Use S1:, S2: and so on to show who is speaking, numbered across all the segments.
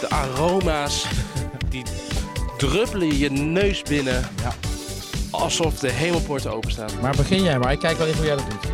S1: De aroma's, die druppelen je neus binnen.
S2: Ja.
S1: Alsof de hemelpoorten openstaan.
S2: Maar begin jij maar, ik kijk wel even hoe jij dat doet.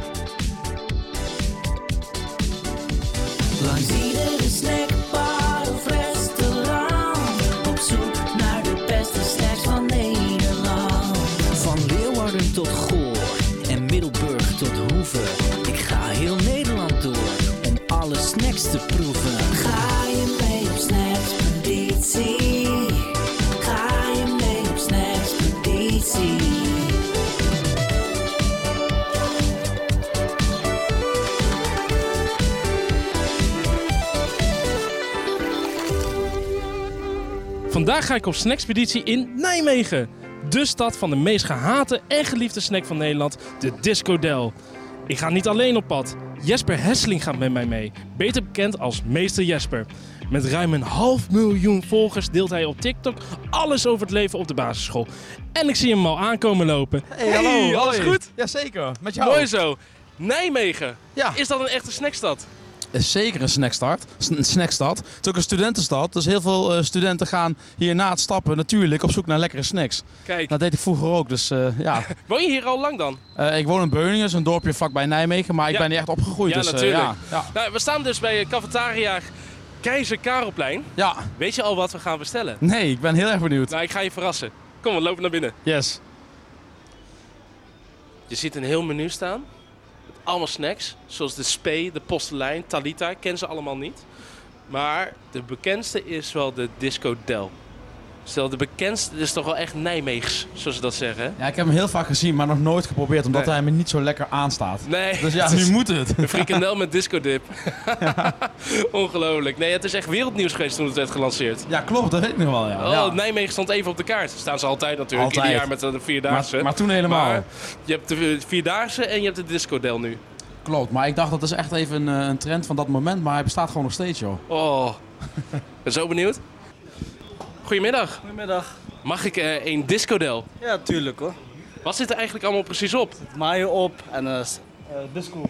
S3: Langs iedere snackbar of restaurant Op zoek naar de beste snacks van Nederland
S4: Van Leeuwarden tot Goor en Middelburg tot Hoeve. Ik ga heel Nederland door om alle snacks te proeven.
S3: Ga je mee op snackspeditie? Ga je mee op snackspeditie?
S1: Vandaag ga ik op snackspeditie in Nijmegen. De stad van de meest gehate en geliefde snack van Nederland, de Disco Del. Ik ga niet alleen op pad. Jesper Hesseling gaat met mij mee, beter bekend als Meester Jesper. Met ruim een half miljoen volgers deelt hij op TikTok alles over het leven op de basisschool. En ik zie hem al aankomen lopen. Hey, hallo, alles goed?
S2: Jazeker, met jou.
S1: Mooi zo. Nijmegen,
S2: Ja,
S1: is dat een echte snackstad?
S2: is Eh, zeker een snackstart. S- Een snackstad. Het is ook een studentenstad, dus heel veel eh, studenten gaan hier na het stappen natuurlijk op zoek naar lekkere snacks.
S1: Kijk,
S2: Dat deed ik vroeger ook, dus eh, ja.
S1: woon je hier al lang dan?
S2: Eh, ik woon in Beuningen, is een dorpje vlakbij Nijmegen, maar ik
S1: Ja.
S2: ben hier echt opgegroeid.
S1: Ja,
S2: dus, eh,
S1: natuurlijk.
S2: ja. Ja.
S1: Nou, we staan dus bij eh, cafetaria Keizer Karelplein.
S2: ja,
S1: Weet je al wat we gaan bestellen?
S2: nee, ik ben heel erg benieuwd.
S1: Nou, ik ga je verrassen. Kom, we lopen naar binnen.
S2: Yes.
S1: Je ziet een heel menu staan. Met allemaal snacks. Zoals de spee, de postelijn, talita. Ik Ken ze allemaal niet. Maar de bekendste is wel de Disco Del. Stel, de bekendste is toch wel echt Nijmeegs, zoals ze dat zeggen. hè?
S2: Ja, ik heb hem heel vaak gezien, maar nog nooit geprobeerd, omdat
S1: Nee.
S2: hij me niet zo lekker aanstaat.
S1: Nee,
S2: Dus ja,
S1: het is
S2: nu moet het.
S1: een frikandel met discodip. Ongelooflijk. Nee, het is echt wereldnieuws geweest toen het werd gelanceerd.
S2: Ja, klopt, dat weet ik nog wel. Ja.
S1: Oh,
S2: Ja.
S1: Nijmegen stond even op de kaart. Staan ze altijd natuurlijk,
S2: Altijd.
S1: ieder jaar met de Vierdaagse.
S2: Maar, maar toen helemaal.
S1: Maar je hebt de Vierdaagse en je hebt de Discodel nu.
S2: Klopt, maar ik dacht dat is echt even een, eh, een trend van dat moment, maar hij bestaat gewoon nog steeds, joh.
S1: Oh, ik ben zo benieuwd. Goedemiddag.
S5: Goedemiddag.
S1: Mag ik eh, een Discodel?
S5: Ja, tuurlijk hoor.
S1: Wat zit er eigenlijk allemaal precies op?
S5: Maaien op en eh, s- eh, disco.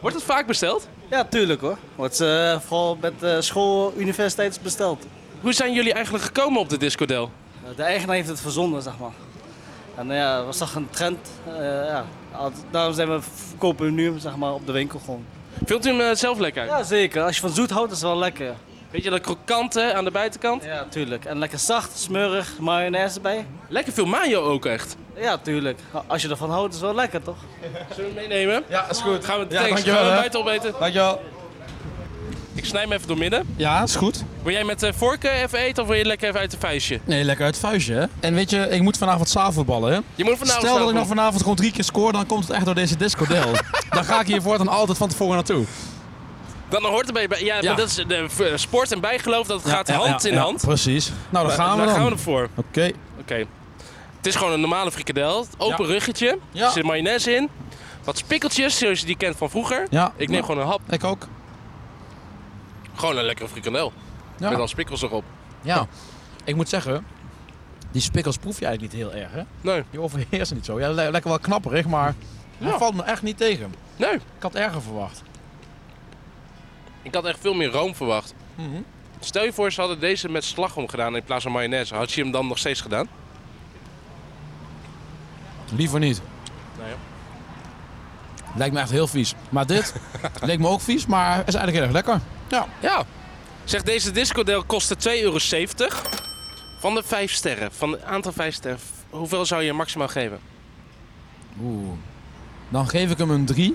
S1: Wordt het vaak besteld?
S5: Ja, tuurlijk hoor. Wordt eh, vooral met eh, school, universiteits besteld.
S1: Hoe zijn jullie eigenlijk gekomen op de Discodel?
S5: Eh, de eigenaar heeft het verzonnen, zeg maar. En eh, ja, was toch een trend. Eh, ja. Al- Daarom zijn we, verkopen we nu zeg maar, op de winkel gewoon.
S1: Vult u hem eh, zelf lekker?
S5: Ja, zeker. Als je van zoet houdt, is het wel lekker.
S1: Weet je dat krokante aan de buitenkant?
S5: Ja, tuurlijk. En lekker zacht, smeurig, mayonaise erbij.
S1: Lekker veel mayo ook echt.
S5: Ja, tuurlijk. Als je ervan houdt, is het wel lekker toch?
S1: Zullen we hem meenemen? Ah.
S2: Ja, is goed.
S1: Gaan we,
S2: Ja,
S1: thanks.
S2: dankjewel,
S1: Gaan we
S2: hè.
S1: buiten opeten?
S2: Dankjewel.
S1: Ik snij hem even door midden.
S2: Ja, is goed.
S1: Wil jij met eh vorken even eten of wil je lekker even uit de vuistje?
S2: Nee, lekker uit het vuistje, hè. En weet je, ik moet vanavond zaalvoetballen, hè.
S1: Je moet vanavond
S2: Stel dat ik
S1: zelf
S2: nog vanavond gewoon drie keer scoor, dan komt het echt door deze discodel. dan ga ik hier voortaan altijd van tevoren naartoe.
S1: Dan hoort erbij. bij- Ja,
S2: Ja.
S1: maar dat is de v- sport en bijgeloof, dat gaat
S2: Ja, ja,
S1: hand
S2: ja,
S1: in
S2: ja,
S1: hand.
S2: Precies. Nou, dan gaan we
S1: Daar
S2: dan.
S1: gaan we ervoor.
S2: Oké.
S1: Oké. Het is gewoon een normale frikadel. Open ruggetje.
S2: Ja.
S1: Er zit mayonaise in. Wat spikkeltjes, zoals je die kent van vroeger.
S2: Ja.
S1: Ik neem gewoon een hap.
S2: Ik ook.
S1: Gewoon een lekkere frikandel.
S2: Ja.
S1: Met al spikkels erop.
S2: Ja. Ik moet zeggen, die spikkels proef je eigenlijk niet heel erg, hè.
S1: Nee.
S2: Die overheersen niet zo. Ja, le- lekker wel knapperig, maar
S1: Ja.
S2: dat valt me echt niet tegen.
S1: Nee.
S2: Ik had erger verwacht.
S1: Ik had echt veel meer room verwacht. Stel je voor, ze hadden deze met slagroom gedaan in plaats van mayonaise. Had je hem dan nog steeds gedaan?
S2: Liever niet. Lijkt me echt heel vies. Maar dit leek me ook vies, maar is eigenlijk heel erg lekker. Ja.
S1: Ja. Zeg, deze discodel kostte 2,70 euro. Van de vijf sterren, van het aantal vijf sterren, hoeveel zou je maximaal geven?
S2: Oeh. Dan geef ik hem een 3.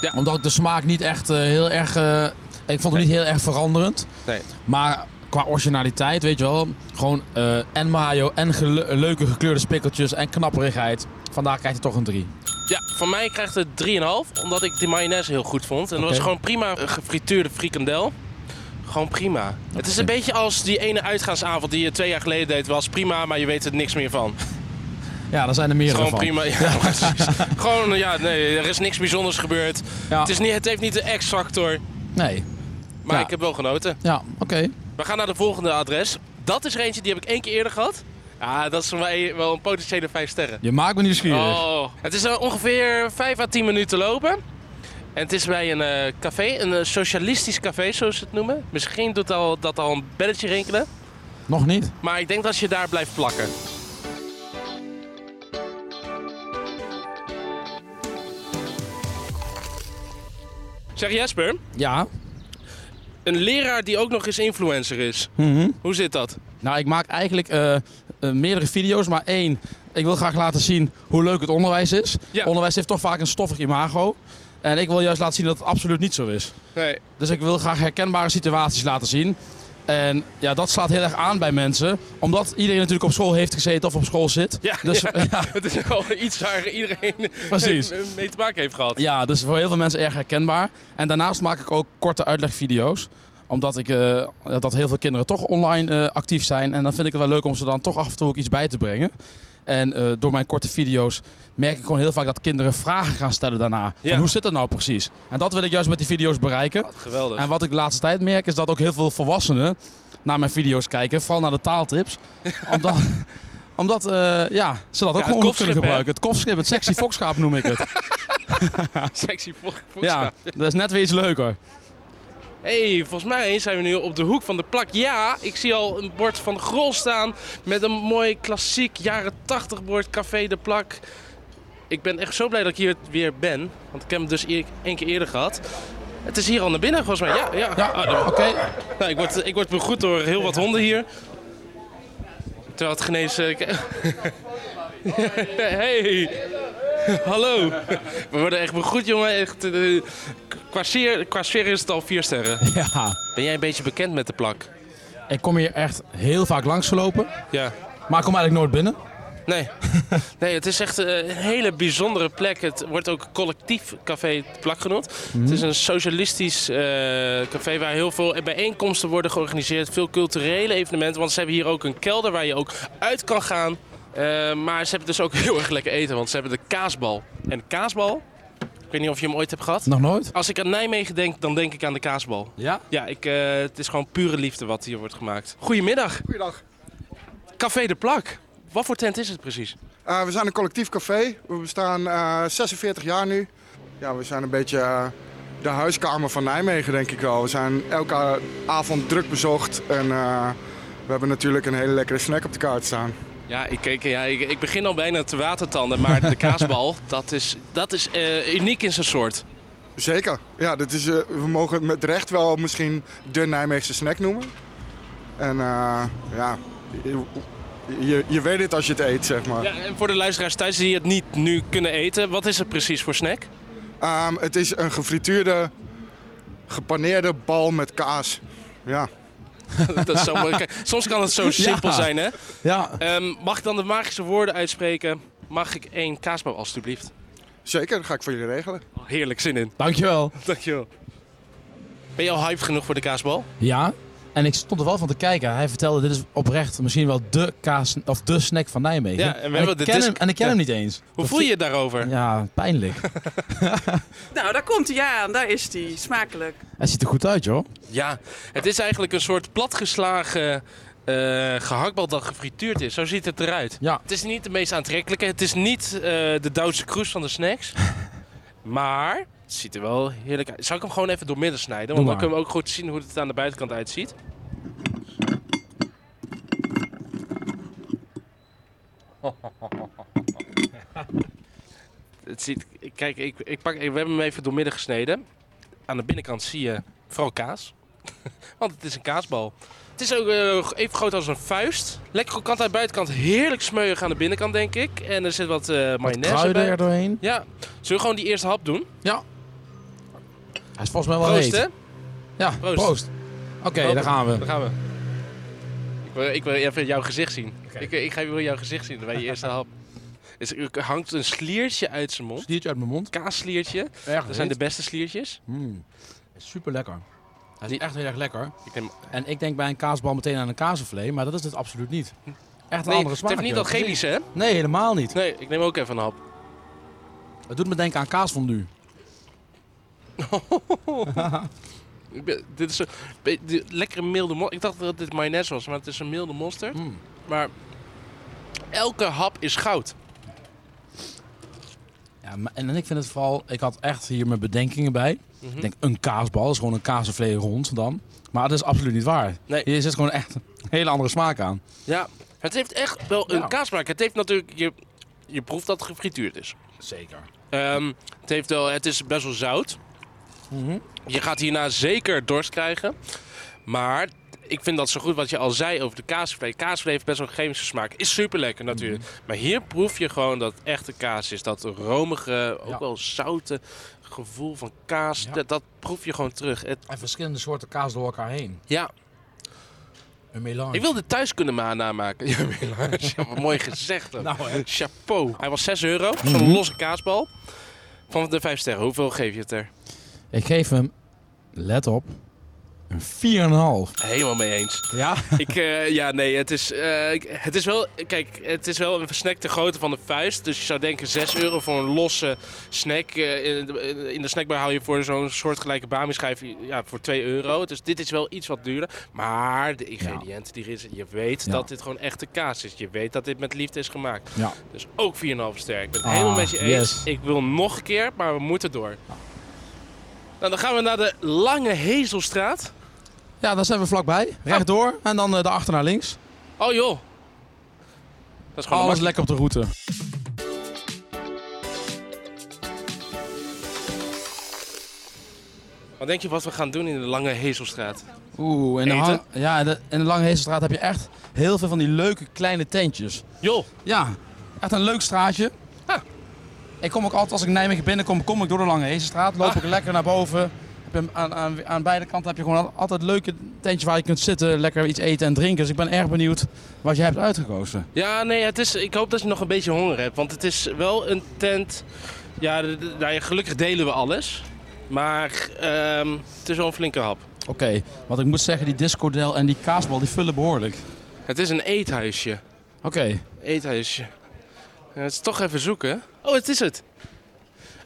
S1: Ja.
S2: Omdat ik de smaak niet echt eh, heel erg. eh, ik vond hem niet heel erg veranderend.
S1: Nee.
S2: Maar qua originaliteit, weet je wel. Gewoon eh, en Mario en gele- leuke gekleurde spikkeltjes en knapperigheid. Vandaar krijgt hij toch een 3.
S1: Ja, van mij krijgt het 3,5, omdat ik die mayonaise heel goed vond. En dat
S2: Oké.
S1: was gewoon prima eh, gefrituurde frikandel. Gewoon prima. Het is een beetje als die ene uitgaansavond die je twee jaar geleden deed. Was prima, maar je weet er niks meer van.
S2: Ja, daar zijn er meerdere
S1: Gewoon
S2: van.
S1: prima. Ja, precies. Gewoon, ja, nee, er is niks bijzonders gebeurd.
S2: Ja.
S1: Het, is niet, het heeft niet de X-factor,
S2: Nee.
S1: maar
S2: Ja.
S1: ik heb wel genoten.
S2: Ja, oké.
S1: We gaan naar de volgende adres. Dat is er eentje, die heb ik één keer eerder gehad. Ja, dat is voor mij wel een potentiële vijf sterren.
S2: Je maakt me nieuwsgierig.
S1: Oh, het is eh, ongeveer 5 à 10 minuten lopen. En het is bij een eh, café, een eh, socialistisch café, zoals ze het noemen. Misschien doet al, dat al een belletje rinkelen.
S2: Nog niet?
S1: Maar ik denk dat je daar blijft plakken. Zeg Jesper,
S2: Ja.
S1: een leraar die ook nog eens influencer is.
S2: Mhm.
S1: Hoe zit dat?
S2: Nou, ik maak eigenlijk eh, eh, meerdere video's, maar één. Ik wil graag laten zien hoe leuk het onderwijs is.
S1: Ja.
S2: Onderwijs heeft toch vaak een stoffig imago. En ik wil juist laten zien dat het absoluut niet zo is.
S1: Nee.
S2: Dus ik wil graag herkenbare situaties laten zien. En ja, dat slaat heel erg aan bij mensen. Omdat iedereen natuurlijk op school heeft gezeten of op school zit.
S1: Ja,
S2: dus,
S1: ja.
S2: ja.
S1: Het is wel iets waar iedereen
S2: Precies.
S1: mee te maken heeft gehad.
S2: Ja, dus voor heel veel mensen erg herkenbaar. En daarnaast maak ik ook korte uitlegvideo's. Omdat ik, eh, dat heel veel kinderen toch online eh, actief zijn. En dan vind ik het wel leuk om ze dan toch af en toe ook iets bij te brengen. En eh, door mijn korte video's merk ik gewoon heel vaak dat kinderen vragen gaan stellen daarna.
S1: Ja.
S2: Van, hoe zit dat nou precies? En dat wil ik juist met die video's bereiken.
S1: Geweldig.
S2: En wat ik de laatste tijd merk is dat ook heel veel volwassenen naar mijn video's kijken. Vooral naar de taaltips. Omdat, omdat eh, ja, ze dat ook
S1: het
S2: gewoon goed
S1: kofschip,
S2: kunnen
S1: hè?
S2: gebruiken. Het kofschip, het sexy fokschaap noem ik het.
S1: Sexy volk.
S2: Ja, dat is net weer iets leuker.
S1: Hé, hey, volgens mij zijn we nu op de hoek van de plak. Ja, ik zie al een bord van Grol staan met een mooi klassiek jaren 80 bord Café de Plak. Ik ben echt zo blij dat ik hier weer ben, want ik heb hem dus eer- één keer eerder gehad. Het is hier al naar binnen volgens mij. Ja, ja.
S2: Ja,
S1: Ah, daar-
S2: oké.
S1: nou, ik, word, ik word begroet door heel wat honden hier. Terwijl het genees... eh, k- hey, hallo. We worden echt begroet, jongen. Echt, eh, qua, sfeer, qua sfeer is het al vier sterren.
S2: Ja,
S1: Ben jij een beetje bekend met de plak?
S2: ik kom hier echt heel vaak langsgelopen,
S1: Ja.
S2: maar ik kom eigenlijk nooit binnen.
S1: Nee. nee, het is echt eh, een hele bijzondere plek. Het wordt ook collectief café De plak genoemd. Het is een socialistisch eh, café waar heel veel bijeenkomsten worden georganiseerd. Veel culturele evenementen. Want ze hebben hier ook een kelder waar je ook uit kan gaan. Eh, maar ze hebben dus ook heel erg lekker eten. Want ze hebben de kaasbal. En de kaasbal, ik weet niet of je hem ooit hebt gehad.
S2: Nog nooit?
S1: Als ik aan Nijmegen denk, dan denk ik aan de kaasbal.
S2: Ja?
S1: Ja, ik, eh, het is gewoon pure liefde wat hier wordt gemaakt. Goedemiddag. Goeiedag. Café de Plak. Wat voor tent is het precies?
S6: Eh, we zijn een collectief café. We bestaan eh, 46 jaar nu. Ja, we zijn een beetje eh, de huiskamer van Nijmegen, denk ik wel. We zijn elke avond druk bezocht. En eh, we hebben natuurlijk een hele lekkere snack op de kaart staan.
S1: Ja, ik, ik, ja, ik, ik begin al bijna te watertanden, maar de kaasbal, dat is, dat is eh, uniek in zijn soort.
S6: Zeker. Ja, dit is, eh, we mogen het met recht wel misschien de Nijmeegse snack noemen. En eh, ja, je, je, je weet het als je het eet, zeg maar.
S1: Ja, en voor de luisteraars thuis die het niet nu kunnen eten, wat is het precies voor snack?
S6: Ehm, het is een gefrituurde, gepaneerde bal met kaas. Ja.
S1: dat is zo mooi. Kijk, Soms kan het zo simpel zijn, hè?
S2: Ja.
S1: Ehm, mag ik dan de magische woorden uitspreken? Mag ik één kaasbal alstublieft?
S6: Zeker, dat ga ik voor jullie regelen.
S1: Heerlijk zin in.
S2: Dankjewel.
S1: Dankjewel. Ben je al hype genoeg voor de kaasbal?
S2: Ja, en ik stond er wel van te kijken. Hij vertelde, dit is oprecht misschien wel de kaas, of de snack van Nijmegen.
S1: Ja, en we hebben
S2: ik
S1: de
S2: ken
S1: disc-
S2: hem, en ik ken
S1: ja.
S2: hem niet eens.
S1: Hoe voel je je daarover?
S2: Ja, pijnlijk.
S7: Nou, daar komt hij aan. Daar is hij. Smakelijk.
S2: Hij ziet er goed uit, joh.
S1: Ja, het is eigenlijk een soort platgeslagen eh gehaktbal dat gefrituurd is. Zo ziet het eruit.
S2: Ja.
S1: Het is niet de meest aantrekkelijke. Het is niet eh, de Duitse kroes van de snacks. maar het ziet er wel heerlijk uit. Zal ik hem gewoon even doormidden snijden? Want dan
S2: Doe maar.
S1: kunnen we ook goed zien hoe het aan de buitenkant uitziet. het ziet, ik, Kijk, ik, ik pak, we hebben hem even doormidden gesneden. Aan de binnenkant zie je vooral kaas. Want het is een kaasbal. Het is ook eh, even groot als een vuist. Lekker krokant aan de buitenkant. Heerlijk smeuig aan de binnenkant, denk ik. En er zit wat eh
S2: Wat
S1: mayonaise
S2: kruiden
S1: bij.
S2: er doorheen.
S1: Ja, zullen we gewoon die eerste hap doen?
S2: Hij is volgens mij wel
S1: Proost,
S2: heet.
S1: hè?
S2: Ja,
S1: Proost.
S2: proost. Oké, daar gaan we.
S1: Daar gaan we. Ik wil, ik wil even jouw gezicht zien. Ik, ik ga even jouw gezicht zien bij je eerste hap. Dus Er hangt een sliertje uit zijn mond.
S2: Stiertje uit mijn mond.
S1: Kaassliertje.
S2: Erg
S1: Dat zijn de
S2: heet.
S1: beste sliertjes.
S2: Mm. Super lekker. Hij is
S1: Die-
S2: echt heel erg lekker.
S1: Ik neem
S2: En ik denk bij een kaasbal meteen aan een kazenvlees, maar dat is dit absoluut niet. Echt een
S1: Nee,
S2: andere smaak.
S1: Het heeft niet
S2: joh.
S1: dat chemische, hè?
S2: Nee, helemaal niet.
S1: Nee, ik neem ook even een hap.
S2: Het doet me denken aan kaasfondue.
S1: Ik ben- dit is een be- die- lekkere milde mosterd. Ik dacht dat dit mayonaise was, maar het is een milde mosterd.
S2: Mm.
S1: Maar elke hap is goud.
S2: Ja, maar- en en ik vind het vooral, ik had echt hier mijn bedenkingen bij.
S1: Mhm.
S2: Ik denk, een kaasbal is gewoon een kazenvlees rond dan. Maar dat is absoluut niet waar.
S1: Nee.
S2: Hier zit gewoon echt een hele andere smaak aan.
S1: Ja, het heeft echt wel een
S2: Ja.
S1: kaasmaak. Het heeft natuurlijk... Je, je proeft dat het gefrituurd is.
S2: Zeker.
S1: Ehm, het, heeft wel, het is best wel zout. Je gaat hierna zeker dorst krijgen. Maar ik vind dat zo goed wat je al zei over de kaasvlees. Kaasvlees heeft best wel een chemische smaak. Is super lekker natuurlijk. Maar hier proef je gewoon dat het echte kaas is. Dat romige, ook
S2: Ja.
S1: wel zoute gevoel van kaas.
S2: Ja.
S1: Dat, dat proef je gewoon terug. Het,
S2: En verschillende soorten kaas door elkaar heen.
S1: ja,
S2: Een melange.
S1: ik wilde thuis kunnen ma- namaken. Ja, Melange. Ja, wat mooi gezegd. ook.
S2: Nou, hè.
S1: Chapeau. Hij was 6 euro. Van een losse kaasbal. Van de 5 sterren. Hoeveel geef je het er?
S2: Ik geef hem, let op, een 4,5.
S1: Helemaal mee eens.
S2: Ja?
S1: ik, eh, ja, nee, het is, eh, ik- het is wel, kijk, het is wel een snack te grootte van de vuist. Dus je zou denken 6 euro voor een losse snack. Eh, in, de, in de snackbar hou je voor zo'n soortgelijke bami-schijf ja, voor 2 euro. Dus dit is wel iets wat duurder. Maar de ingrediënten die erin zitten, je weet
S2: Ja.
S1: dat dit gewoon echte kaas is. Je weet dat dit met liefde is gemaakt.
S2: Ja.
S1: Dus ook 4,5 ster. Ik ben het
S2: Ah,
S1: helemaal met je eens.
S2: yes.
S1: Ik wil nog een keer, maar we moeten door. Nou, dan gaan we naar de Lange Hezelstraat.
S2: Ja, dan zijn we vlakbij. Rechtdoor en dan eh, daarachter naar links.
S1: Oh joh. Dat is gewoon
S2: Alles
S1: een
S2: lekker op de route.
S1: Wat denk je wat we gaan doen in de Lange Hezelstraat?
S2: Oeh, in de,
S1: Eten?
S2: hang- ja, in de, in de Lange Heesterstraat heb je echt heel veel van die leuke kleine tentjes.
S1: Joh,
S2: Ja, echt een leuk straatje.
S1: Ja.
S2: Ik kom ook altijd, als ik Nijmegen binnenkom, kom ik door de Lange Heesterstraat. Loop
S1: Ah.
S2: ik lekker naar boven. Heb je aan, aan, aan beide kanten heb je gewoon al- altijd leuke tentjes waar je kunt zitten. Lekker iets eten en drinken. Dus ik ben erg benieuwd wat je hebt uitgekozen.
S1: ja nee, het is, ik hoop dat je nog een beetje honger hebt. Want het is wel een tent, ja, d- d- nou ja, gelukkig delen we alles. Maar ehm, het is wel een flinke hap.
S2: Oké, want ik moet zeggen, die discodel en die kaasbal, die vullen behoorlijk.
S1: Het is een eethuisje.
S2: Oké,
S1: Eethuisje. Ja, het is toch even zoeken. Oh, het is het.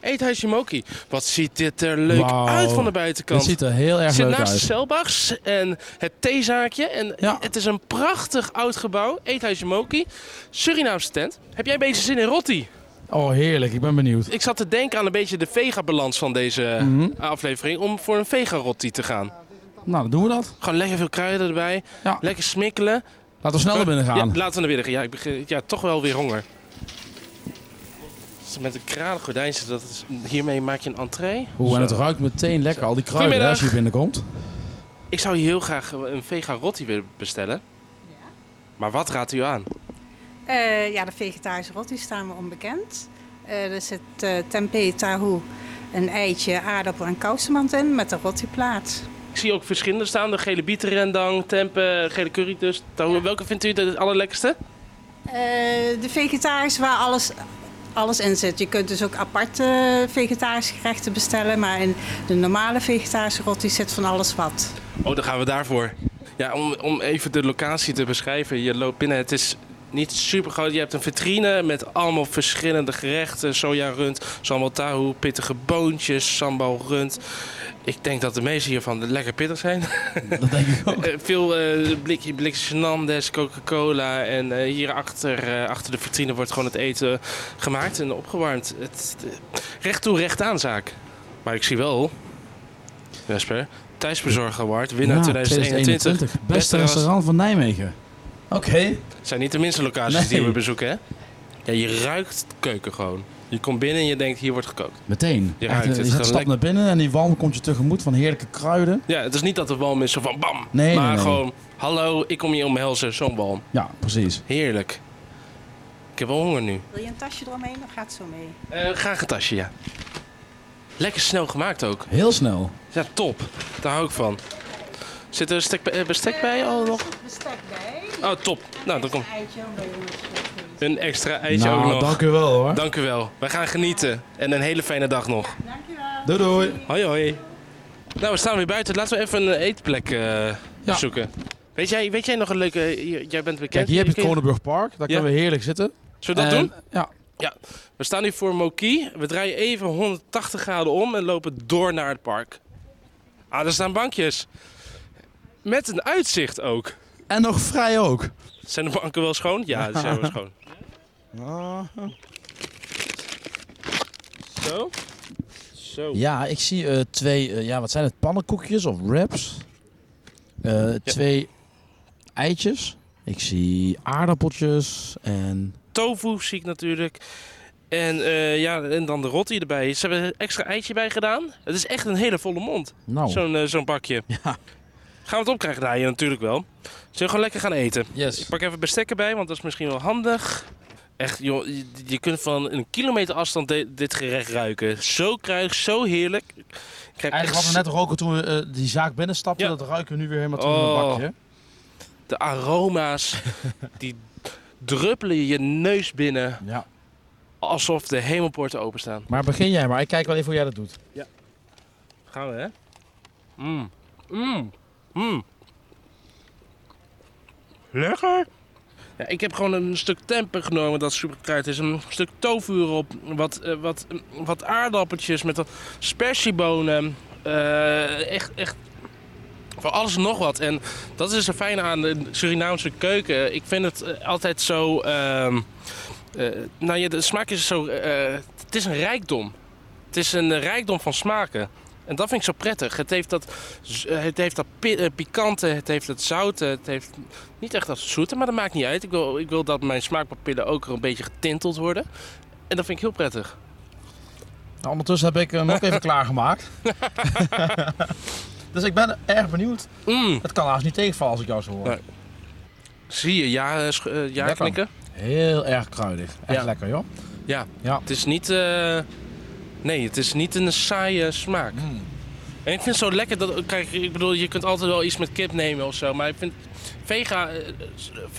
S1: Eethuisje Moki. Wat ziet dit er leuk
S2: Wauw.
S1: uit van de
S2: dit
S1: buitenkant.
S2: ziet er heel erg
S1: Het zit
S2: leuk
S1: naast de
S2: uit.
S1: Selbachs en het theezaakje. En
S2: Ja.
S1: het is een prachtig oud gebouw. Eethuisje Moki. Surinaamse tent. Heb jij een beetje zin in rotti?
S2: Oh, heerlijk. Ik ben benieuwd.
S1: Ik zat te denken aan een beetje de vega-balans van deze
S2: Mhm.
S1: aflevering. Om voor een vega-rotti te gaan.
S2: Nou, dan doen we dat.
S1: Gewoon lekker veel kruiden erbij.
S2: Ja.
S1: Lekker smikkelen.
S2: Laten we snel naar binnen
S1: Ja,
S2: gaan.
S1: laten we naar binnen gaan. Ja, ik begin, ja, toch wel weer honger. Als het Met een kralen gordijn zit, dat is, hiermee maak je een entree.
S2: Oeh, en het
S1: Zo.
S2: ruikt meteen lekker. Al die kruiden hè, als je hier binnenkomt.
S1: Ik zou heel graag een vega-rotti willen bestellen. Maar wat raadt u aan?
S8: Eh, ja, de vegetarische rotti staan we onbekend. Eh, er zit eh tempeh, tahu, een eitje, aardappel en kousenmand in met de rottiplaat.
S1: Ik zie ook verschillende staan. De gele bietenrendang, tempe, gele curry dus. Tahu. Welke vindt u de- het allerlekkerste?
S8: Eh de vegetarische waar alles, alles in zit. Je kunt dus ook aparte vegetarische gerechten bestellen, maar in de normale vegetarische rotti zit van alles wat.
S1: Oh, dan gaan we daarvoor. Ja, om, om even de locatie te beschrijven. Je loopt binnen. Het is niet super groot. Je hebt een vitrine met allemaal verschillende gerechten. Soja rund, sambal tahu, pittige boontjes, sambal rund. Ik denk dat de meeste hiervan lekker pittig zijn.
S2: Dat denk ik ook.
S1: Eh, veel eh blikje, blikjes Fernandes, Coca-Cola. En eh, hierachter, eh, achter de vitrine, wordt gewoon het eten gemaakt en opgewarmd. Het, eh, recht toe, recht aan zaak. Maar ik zie wel, Wesper, Thuisbezorg Award, winnaar
S2: Ja,
S1: 2021.
S2: Beste restaurant van Nijmegen. Oké.
S1: Het zijn niet de minste locaties
S2: Nee.
S1: die we bezoeken, hè? Ja, je ruikt keuken gewoon. Je komt binnen en je denkt, hier wordt gekookt.
S2: Meteen.
S1: Je
S2: Je,
S1: ruikt
S2: Echt,
S1: het
S2: je gaat
S1: gelijk.
S2: stap naar binnen en die walm komt je tegemoet van heerlijke kruiden.
S1: Ja, het is niet dat de walm is zo van bam.
S2: Nee,
S1: maar
S2: nee, nee.
S1: gewoon, hallo, ik kom je omhelzen, zo'n walm.
S2: Ja, precies.
S1: Heerlijk. Ik heb wel honger nu.
S8: Wil je een tasje eromheen? Dan gaat het zo mee.
S1: Eh, graag een tasje, ja. Lekker snel gemaakt ook.
S2: Heel snel.
S1: Ja, top. Daar hou ik van. Zit er een stek- eh, bestek bij al nog?
S8: Bestek bij.
S1: Oh, top. Nou, dan komt
S8: Eitje bij jongens.
S1: een extra eitje
S2: nou,
S1: ook nog.
S2: dank u wel hoor.
S1: Dank u wel. Wij gaan genieten. En een hele fijne dag nog.
S2: Doei doei.
S1: Hoi hoi. Nou, we staan weer buiten. Laten we even een eetplek eh,
S2: Ja.
S1: zoeken. Weet jij, weet jij nog een leuke... eh, j- Jij bent bekend.
S2: Kijk, hier heb je het
S1: Kun je-
S2: Kronenburg Park. Daar
S1: Ja.
S2: kunnen we heerlijk zitten.
S1: Zullen we dat
S2: En-
S1: doen?
S2: Ja.
S1: Ja. We staan nu voor Moki. We draaien even 180 graden om en lopen door naar het park. Ah, daar staan bankjes. Met een uitzicht ook.
S2: En nog vrij ook.
S1: Zijn de banken wel schoon? Ja, die zijn wel schoon. Zo. Zo.
S2: Ja, ik zie eh, twee, eh, ja, wat zijn het, pannenkoekjes of wraps? Eh, Twee eitjes. Ik zie aardappeltjes en...
S1: tofu zie ik natuurlijk. En, eh, ja, en dan de rotti erbij. Ze hebben een extra eitje bij gedaan. Het is echt een hele volle mond,
S2: Nou,
S1: zo'n eh, zo'n bakje. Gaan we het opkrijgen? Nou, ja, natuurlijk wel. Zullen we gewoon lekker gaan eten?
S2: yes.
S1: Ik pak even bestekken bij, want dat is misschien wel handig. Echt, joh, je, je kunt van een kilometer afstand de- dit gerecht ruiken. Zo kruidig, zo heerlijk. Ik krijg
S2: Eigenlijk
S1: echt
S2: hadden we net roken toen we eh, die zaak binnenstapten.
S1: Ja.
S2: Dat ruiken we nu weer helemaal terug in
S1: Oh.
S2: een bakje.
S1: de aroma's. die druppelen je neus binnen.
S2: Ja.
S1: Alsof de hemelpoorten openstaan.
S2: Maar begin jij maar. Ik kijk wel even hoe jij dat doet.
S1: Gaan we, hè? Mmm. Mmm. Mmm. Lekker. Ja, ik heb gewoon een stuk temper genomen dat superkruid is. Een stuk tofu erop. Wat, eh, wat, wat aardappeltjes met wat spersiebonen. Eh, echt, echt voor alles en nog wat. En dat is er fijn aan de Surinaamse keuken. Ik vind het eh, altijd zo... ehm, eh, nou ja, de smaak is zo... eh, het is een rijkdom. Het is een eh, rijkdom van smaken. En dat vind ik zo prettig. Het heeft dat, z- eh, het heeft dat pi- eh, pikante, het heeft dat zoute, het heeft niet echt dat zoete, maar dat maakt niet uit. Ik wil, ik wil dat mijn smaakpapillen ook er een beetje getinteld worden. En dat vind ik heel prettig.
S2: Nou, ondertussen heb ik hem ook even klaargemaakt. dus ik ben erg benieuwd.
S1: Mm,
S2: Het kan haast niet tegenvallen als ik jou zo hoor.
S1: Nee. zie je, ja, eh, sch- eh, ja
S2: Lekker.
S1: knikken.
S2: Heel erg kruidig. Echt
S1: Ja.
S2: lekker joh.
S1: Ja.
S2: Ja.
S1: Het is niet. eh, nee, het is niet een saaie smaak. En ik vind het zo lekker dat. Kijk, ik bedoel, je kunt altijd wel iets met kip nemen of zo. Maar ik vind. Vega, eh,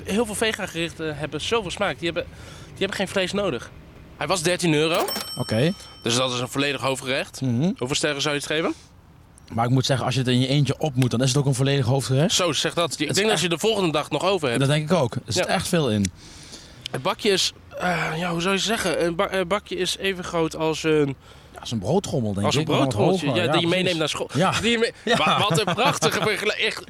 S1: heel veel vega-gerichten hebben zoveel smaak. Die hebben, die hebben geen vlees nodig. Hij was 13 euro,
S2: Oké.
S1: dus dat is een volledig hoofdgerecht.
S2: Mhm.
S1: Hoeveel sterren zou je het geven?
S2: Maar ik moet zeggen, als je het in je eentje op moet, dan is het ook een volledig hoofdgerecht.
S1: Zo, zeg dat. Ik
S2: is
S1: denk dat je de volgende dag nog over hebt.
S2: Dat denk ik ook. Er zit
S1: Ja.
S2: echt veel in.
S1: Het bakje is, eh, ja, hoe zou je zeggen? Een ba- eh, bakje is even groot als een,
S2: Ja, als een broodtrommel, denk
S1: als een
S2: ik. maar wat
S1: broodrolletje. Oh, Ja,
S2: hoger.
S1: die je
S2: precies.
S1: meeneemt naar school.
S2: Ja.
S1: Die me-
S2: Ja.
S1: Wa- Wat een prachtige vergelijking. Echt.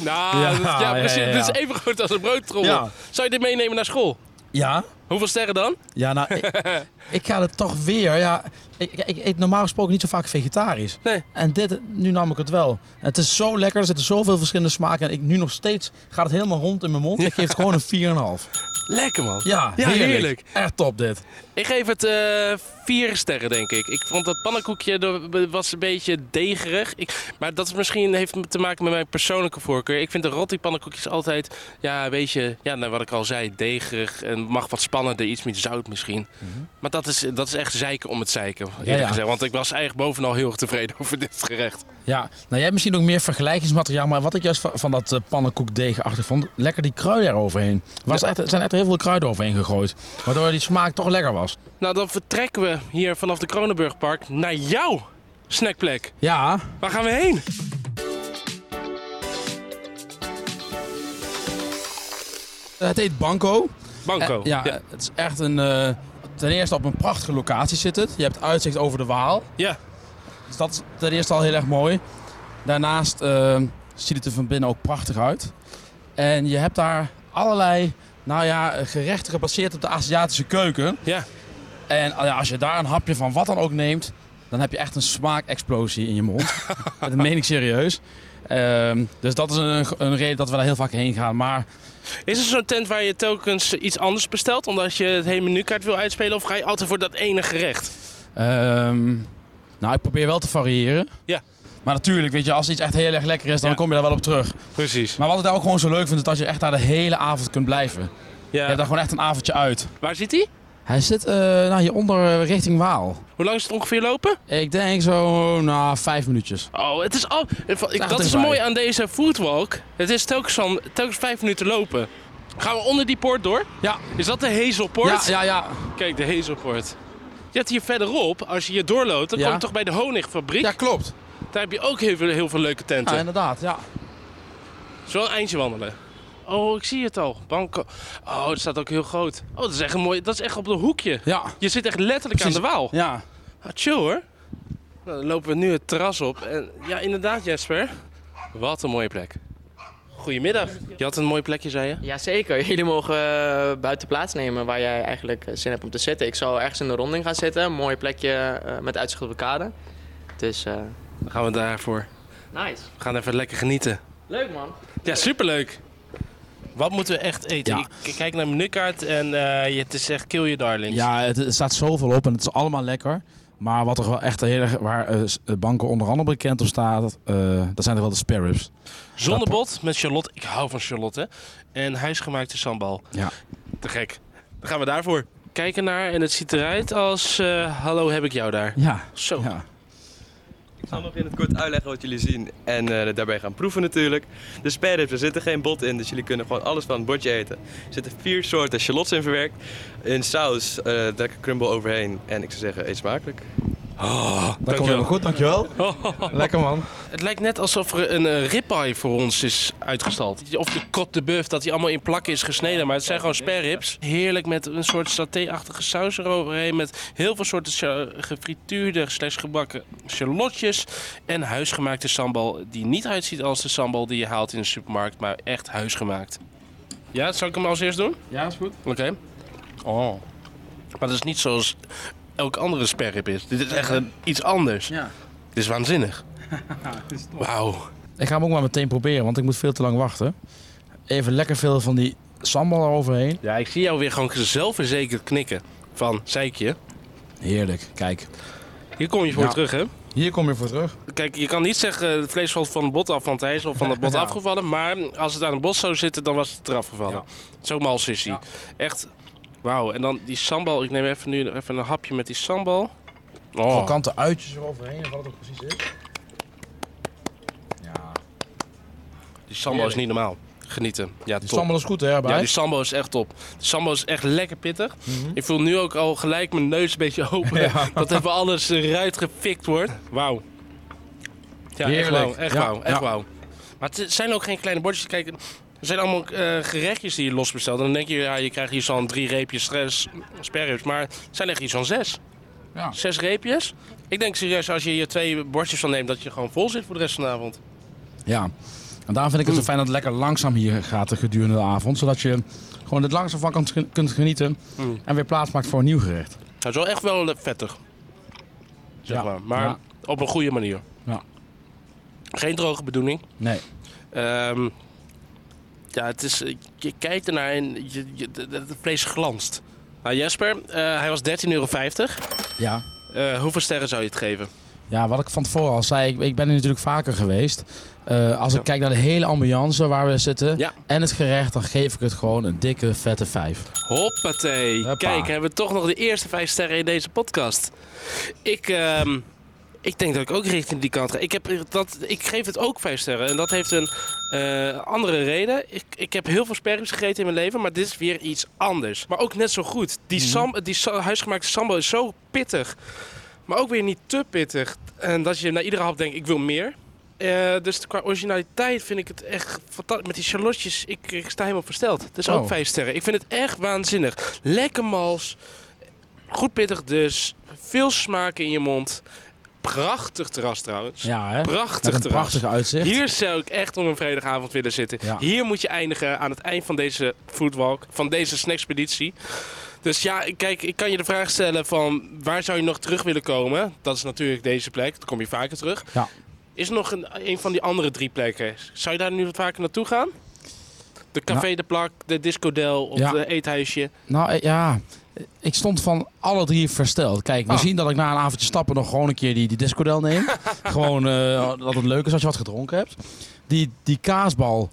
S1: Nou,
S2: Ja,
S1: dat- ja,
S2: ja,
S1: precies.
S2: ja, ja.
S1: Dit is even groot als een broodtrommel.
S2: Ja.
S1: Zou je dit meenemen naar school?
S2: Ja?
S1: Hoeveel sterren dan?
S2: Ja, nou, ik, ik ga het toch weer. Ja, ik, ik, ik eet normaal gesproken niet zo vaak vegetarisch.
S1: Nee.
S2: En dit, nu nam ik het wel. En het is zo lekker, er zitten zoveel verschillende smaken. En ik, nu nog steeds gaat het helemaal rond in mijn mond. Ik geef het gewoon een 4,5.
S1: Lekker man.
S2: Ja,
S1: Ja,
S2: heerlijk.
S1: heerlijk.
S2: Echt top dit.
S1: Ik geef het eh, vier sterren, denk ik. Ik vond dat pannenkoekje dat was een beetje degerig. Ik, maar dat is misschien heeft te maken met mijn persoonlijke voorkeur. Ik vind de rotti pannenkoekjes altijd, ja, een beetje, ja, nou, wat ik al zei, degerig. En mag wat spannender, iets meer zout misschien. Maar dat is, dat is echt zeiken om het zeiken, eerlijk
S2: Mhm. ja.
S1: gezegd. Want ik was eigenlijk bovenal heel erg tevreden over dit gerecht.
S2: Ja, nou jij hebt misschien ook meer vergelijkingsmateriaal, maar wat ik juist van, van dat eh, pannenkoekdegenachtig vond, lekker die kruiden eroverheen. Was echt, er zijn echt heel veel kruiden overheen gegooid, waardoor die smaak toch lekker was.
S1: Nou, dan vertrekken we hier vanaf de Kronenburgpark naar jouw snackplek.
S2: Ja,
S1: Waar gaan we heen?
S2: het heet Banco.
S1: Banco.
S2: Eh, ja, eh, het is echt een. eh, ten eerste op een prachtige locatie zit het. Je hebt uitzicht over de Waal.
S1: ja.
S2: Dus dat is ten eerste al heel erg mooi. Daarnaast eh, ziet het er van binnen ook prachtig uit. En je hebt daar allerlei nou ja, gerechten gebaseerd op de Aziatische keuken.
S1: Ja.
S2: En ah ja, als je daar een hapje van wat dan ook neemt, dan heb je echt een smaakexplosie in je mond. dat meen ik serieus. Eh, Ehm, dus dat is een, een reden dat we daar heel vaak heen gaan. Maar
S1: Is er zo'n tent waar je telkens iets anders bestelt omdat je het hele menukaart wil uitspelen? Of ga je altijd voor dat ene gerecht?
S2: Ehm, nou, ik probeer wel te variëren.
S1: Ja.
S2: Maar natuurlijk, weet je, als iets echt heel erg lekker is, dan kom je daar wel op terug.
S1: Precies.
S2: Maar wat ik daar ook gewoon zo leuk vind, is dat je echt daar de hele avond kunt blijven.
S1: Ja.
S2: Je hebt daar gewoon echt een avondje uit.
S1: Waar zit die?
S2: Hij zit eh nou, hieronder eh, richting Waal.
S1: Hoe lang is het ongeveer lopen?
S2: Ik denk zo, nou, vijf minuutjes.
S1: Oh, het is al.
S2: Ja,
S1: dat is
S2: dichtbij.
S1: mooi aan deze foodwalk. Het is telkens, van, telkens vijf minuten lopen. Gaan we onder die poort door?
S2: Ja.
S1: Is dat de Hazelpoort?
S2: Ja, ja, ja.
S1: Kijk, de Hazelpoort. Je hebt hier verderop, als je hier doorloopt, dan
S2: Ja.
S1: kom je toch bij de honigfabriek?
S2: Ja, klopt.
S1: Daar heb je ook heel veel, heel veel leuke tenten.
S2: Ja, inderdaad, ja.
S1: Zo een eindje wandelen. Oh, ik zie het al. Banco. Oh, dat staat ook heel groot. Oh, dat is echt een mooi. Dat is echt op een hoekje.
S2: Ja.
S1: Je zit echt letterlijk aan de waal.
S2: Ja.
S1: Ah, chill hoor. Nou, dan lopen we nu het terras op. En ja, inderdaad, Jesper. Wat een mooie plek. Goedemiddag. Je had een mooi plekje, zei je?
S9: Jazeker, jullie mogen eh, buiten plaatsnemen waar jij eigenlijk eh, zin hebt om te zitten. Ik zal ergens in de ronding gaan zitten, een mooi plekje eh, met uitzicht op de kade. Dus, eh,
S1: Dan gaan we daarvoor.
S9: Nice.
S1: We gaan even lekker genieten.
S9: Leuk man.
S1: Ja, superleuk. Wat moeten we echt eten?
S2: Ja.
S1: Ik kijk naar de menukaart en eh, je- het is echt kill your darlings.
S2: Ja, het, het staat zoveel op en het is allemaal lekker. Maar wat er wel echt heel erg, waar eh, s- banken onder andere bekend om staat, eh, dat zijn toch wel de spare ribs.
S1: Zonnebot met Charlotte. Ik hou van Charlotte. En huisgemaakte sambal.
S2: Ja.
S1: Te gek. Dan gaan we daarvoor. Kijken naar en het ziet eruit als... eh, Hallo, heb ik jou daar?
S2: Ja.
S1: Zo.
S10: Ik zal nog in het kort uitleggen wat jullie zien en eh, daarbij gaan proeven natuurlijk. De spare ribs, er zitten geen bot in, dus jullie kunnen gewoon alles van het bordje eten. Er zitten vier soorten shallots in verwerkt. In saus, eh lekker crumble overheen. En ik zou zeggen, eet smakelijk.
S1: Oh,
S2: Dat komt helemaal goed, dankjewel. Lekker man.
S1: Het lijkt net alsof er een eh, ribeye voor ons is uitgestald. Of de kop de buff, dat die allemaal in plakken is gesneden. Maar het zijn gewoon spareribs. Heerlijk met een soort saté-achtige saus eroverheen. Met heel veel soorten sja- gefrituurde slash gebakken shallotjes. En huisgemaakte sambal die niet uitziet als de sambal die je haalt in de supermarkt. Maar echt huisgemaakt. Ja, zal ik hem als eerst doen?
S2: Ja, is goed.
S1: Oké. Oh. Maar dat is niet zoals elk andere sparerib is. Dit is echt een- iets anders.
S2: Ja.
S1: Dit is waanzinnig. Wauw.
S2: Ik ga hem ook maar meteen proberen, want ik moet veel te lang wachten. Even lekker veel van die sambal eroverheen.
S1: Ja, ik zie jou weer gewoon zelfverzekerd knikken. Van, zei ik je?
S2: Heerlijk, kijk.
S1: Hier kom je voor
S2: Ja.
S1: terug, hè?
S2: Hier kom je voor terug.
S1: Kijk, je kan niet zeggen eh, het vlees valt van het bot af, want hij is al van het bot
S2: Ja.
S1: afgevallen. Maar als het aan het bot zou zitten, dan was het eraf gevallen. Zo mals is hij. Echt, wauw. En dan die sambal. Ik neem even nu even een hapje met die sambal. Oh.
S2: Krokante uitjes eroverheen en wat het ook precies is. Ja.
S1: Die sambal is niet normaal. Genieten. Ja,
S2: Die
S1: top.
S2: sambal is goed, hè, erbij?
S1: Ja, die sambal is echt top. De sambal is echt lekker pittig.
S2: Mhm.
S1: Ik voel nu ook al gelijk mijn neus een beetje open.
S2: Ja.
S1: Dat even alles eruit gefikt wordt. Wauw. Ja, echt
S2: Heerlijk.
S1: wauw. Echt
S2: Ja,
S1: wauw. Echt
S2: ja.
S1: wauw. Maar het zijn ook geen kleine bordjes. Kijk, er zijn allemaal eh, gerechtjes die je los bestelt. En dan denk je, ja, je krijgt hier zo'n drie reepjes stress, sperrips. Maar het zijn echt hier zo'n zes.
S2: Ja.
S1: Zes reepjes. Ik denk serieus, als je hier twee bordjes van neemt, dat je gewoon vol zit voor de rest van de avond.
S2: Ja. En daarom vind ik het
S1: Mm.
S2: zo fijn dat het lekker langzaam hier gaat de gedurende de avond. Zodat je gewoon het langzaam van kan- kunt genieten.
S1: Mm.
S2: En weer plaats maakt voor een nieuw gerecht.
S1: Het is wel echt wel vettig. Zeg
S2: Ja,
S1: maar. Maar
S2: ja.
S1: op een goede manier.
S2: Ja.
S1: Geen droge bedoeling.
S2: Nee.
S1: Ehm, ja, het is, eh, je kijkt ernaar en je, je- het- het vlees glanst. Nou, Jesper, eh, hij was 13,50 euro.
S2: Ja.
S1: Eh, hoeveel sterren zou je het geven?
S2: Ja, wat ik van tevoren al zei, ik, ik ben er natuurlijk vaker geweest. Eh, als ik kijk naar de hele ambiance waar we zitten en het gerecht, dan geef ik het gewoon een dikke, vette vijf.
S1: Hoppatee. Kijk, hebben we toch nog de eerste vijf sterren in deze podcast. Ik, ehm, ik denk dat ik ook richting die kant ga. Ik, heb dat, ik geef het ook vijf sterren. En dat heeft een eh, andere reden. Ik, ik heb heel veel sperrips gegeten in mijn leven, maar dit is weer iets anders. Maar ook net zo goed. Die, sam, die sa- huisgemaakte sambal is zo pittig. Maar ook weer niet te pittig. En dat je na iedere hap denkt, ik wil meer. Eh, dus qua originaliteit vind ik het echt fantastisch. Met die charlotjes, ik, ik sta helemaal versteld. Het is ook
S2: Oh.
S1: vijf sterren. Ik vind het echt waanzinnig. Lekker mals. Goed pittig dus. Veel smaak in je mond. Prachtig terras trouwens.
S2: Ja, hè?
S1: Prachtig
S2: Met een
S1: terras.
S2: prachtige uitzicht.
S1: Hier zou ik echt op een vrijdagavond willen zitten.
S2: Ja.
S1: Hier moet je eindigen aan het eind van deze foodwalk, van deze snackspeditie. Dus ja, kijk, ik kan je de vraag stellen van waar zou je nog terug willen komen? Dat is natuurlijk deze plek, daar kom je vaker terug.
S2: Ja.
S1: Is er nog een, een van die andere drie plekken? Zou je daar nu wat vaker naartoe gaan? De Café
S2: Nou.
S1: de Plak, de Disco Del of
S2: Ja.
S1: de Eethuisje.
S2: Nou eh, ja, ik stond van alle drie versteld. Kijk,
S1: Oh.
S2: we zien dat ik na een avondje stappen nog gewoon een keer die, die discodel neem. gewoon eh, dat het leuk is als je wat gedronken hebt. Die, die kaasbal,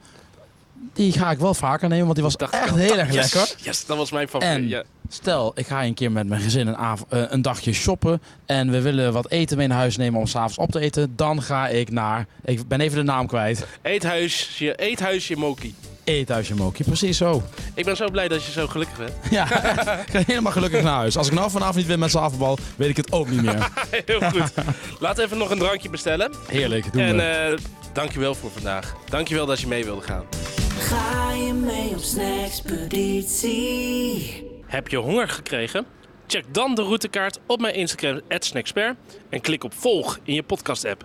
S2: die ga ik wel vaker nemen, want die was echt heel erg
S1: ah, Yes,
S2: lekker.
S1: Yes, dat was mijn
S2: En
S1: favoriet. ja.
S2: stel, ik ga een keer met mijn gezin een, av- eh, een dagje shoppen. En we willen wat eten mee naar huis nemen om s'avonds op te eten. Dan ga ik naar. Ik ben even de naam kwijt.
S1: Eethuisje, Eethuisje Moki.
S2: Eethuisje Mokie, precies zo.
S1: Ik ben zo blij dat je zo gelukkig bent.
S2: Ja, ik ga helemaal gelukkig naar huis. Als ik nou vanavond niet win met z'n avondbal, weet ik het ook niet meer.
S1: Heel goed. Laten we even nog een drankje bestellen.
S2: Heerlijk, doen
S1: en
S2: we.
S1: eh dankjewel voor vandaag. Dankjewel dat je mee wilde gaan.
S3: Ga je mee op snackspeditie?
S1: Heb je honger gekregen? Check dan de routekaart op mijn Instagram, @snacksper en klik op volg in je podcast-app.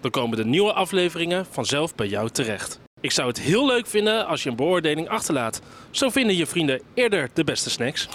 S1: Dan komen de nieuwe afleveringen vanzelf bij jou terecht. Ik zou het heel leuk vinden als je een beoordeling achterlaat. Zo vinden je vrienden eerder de beste snacks.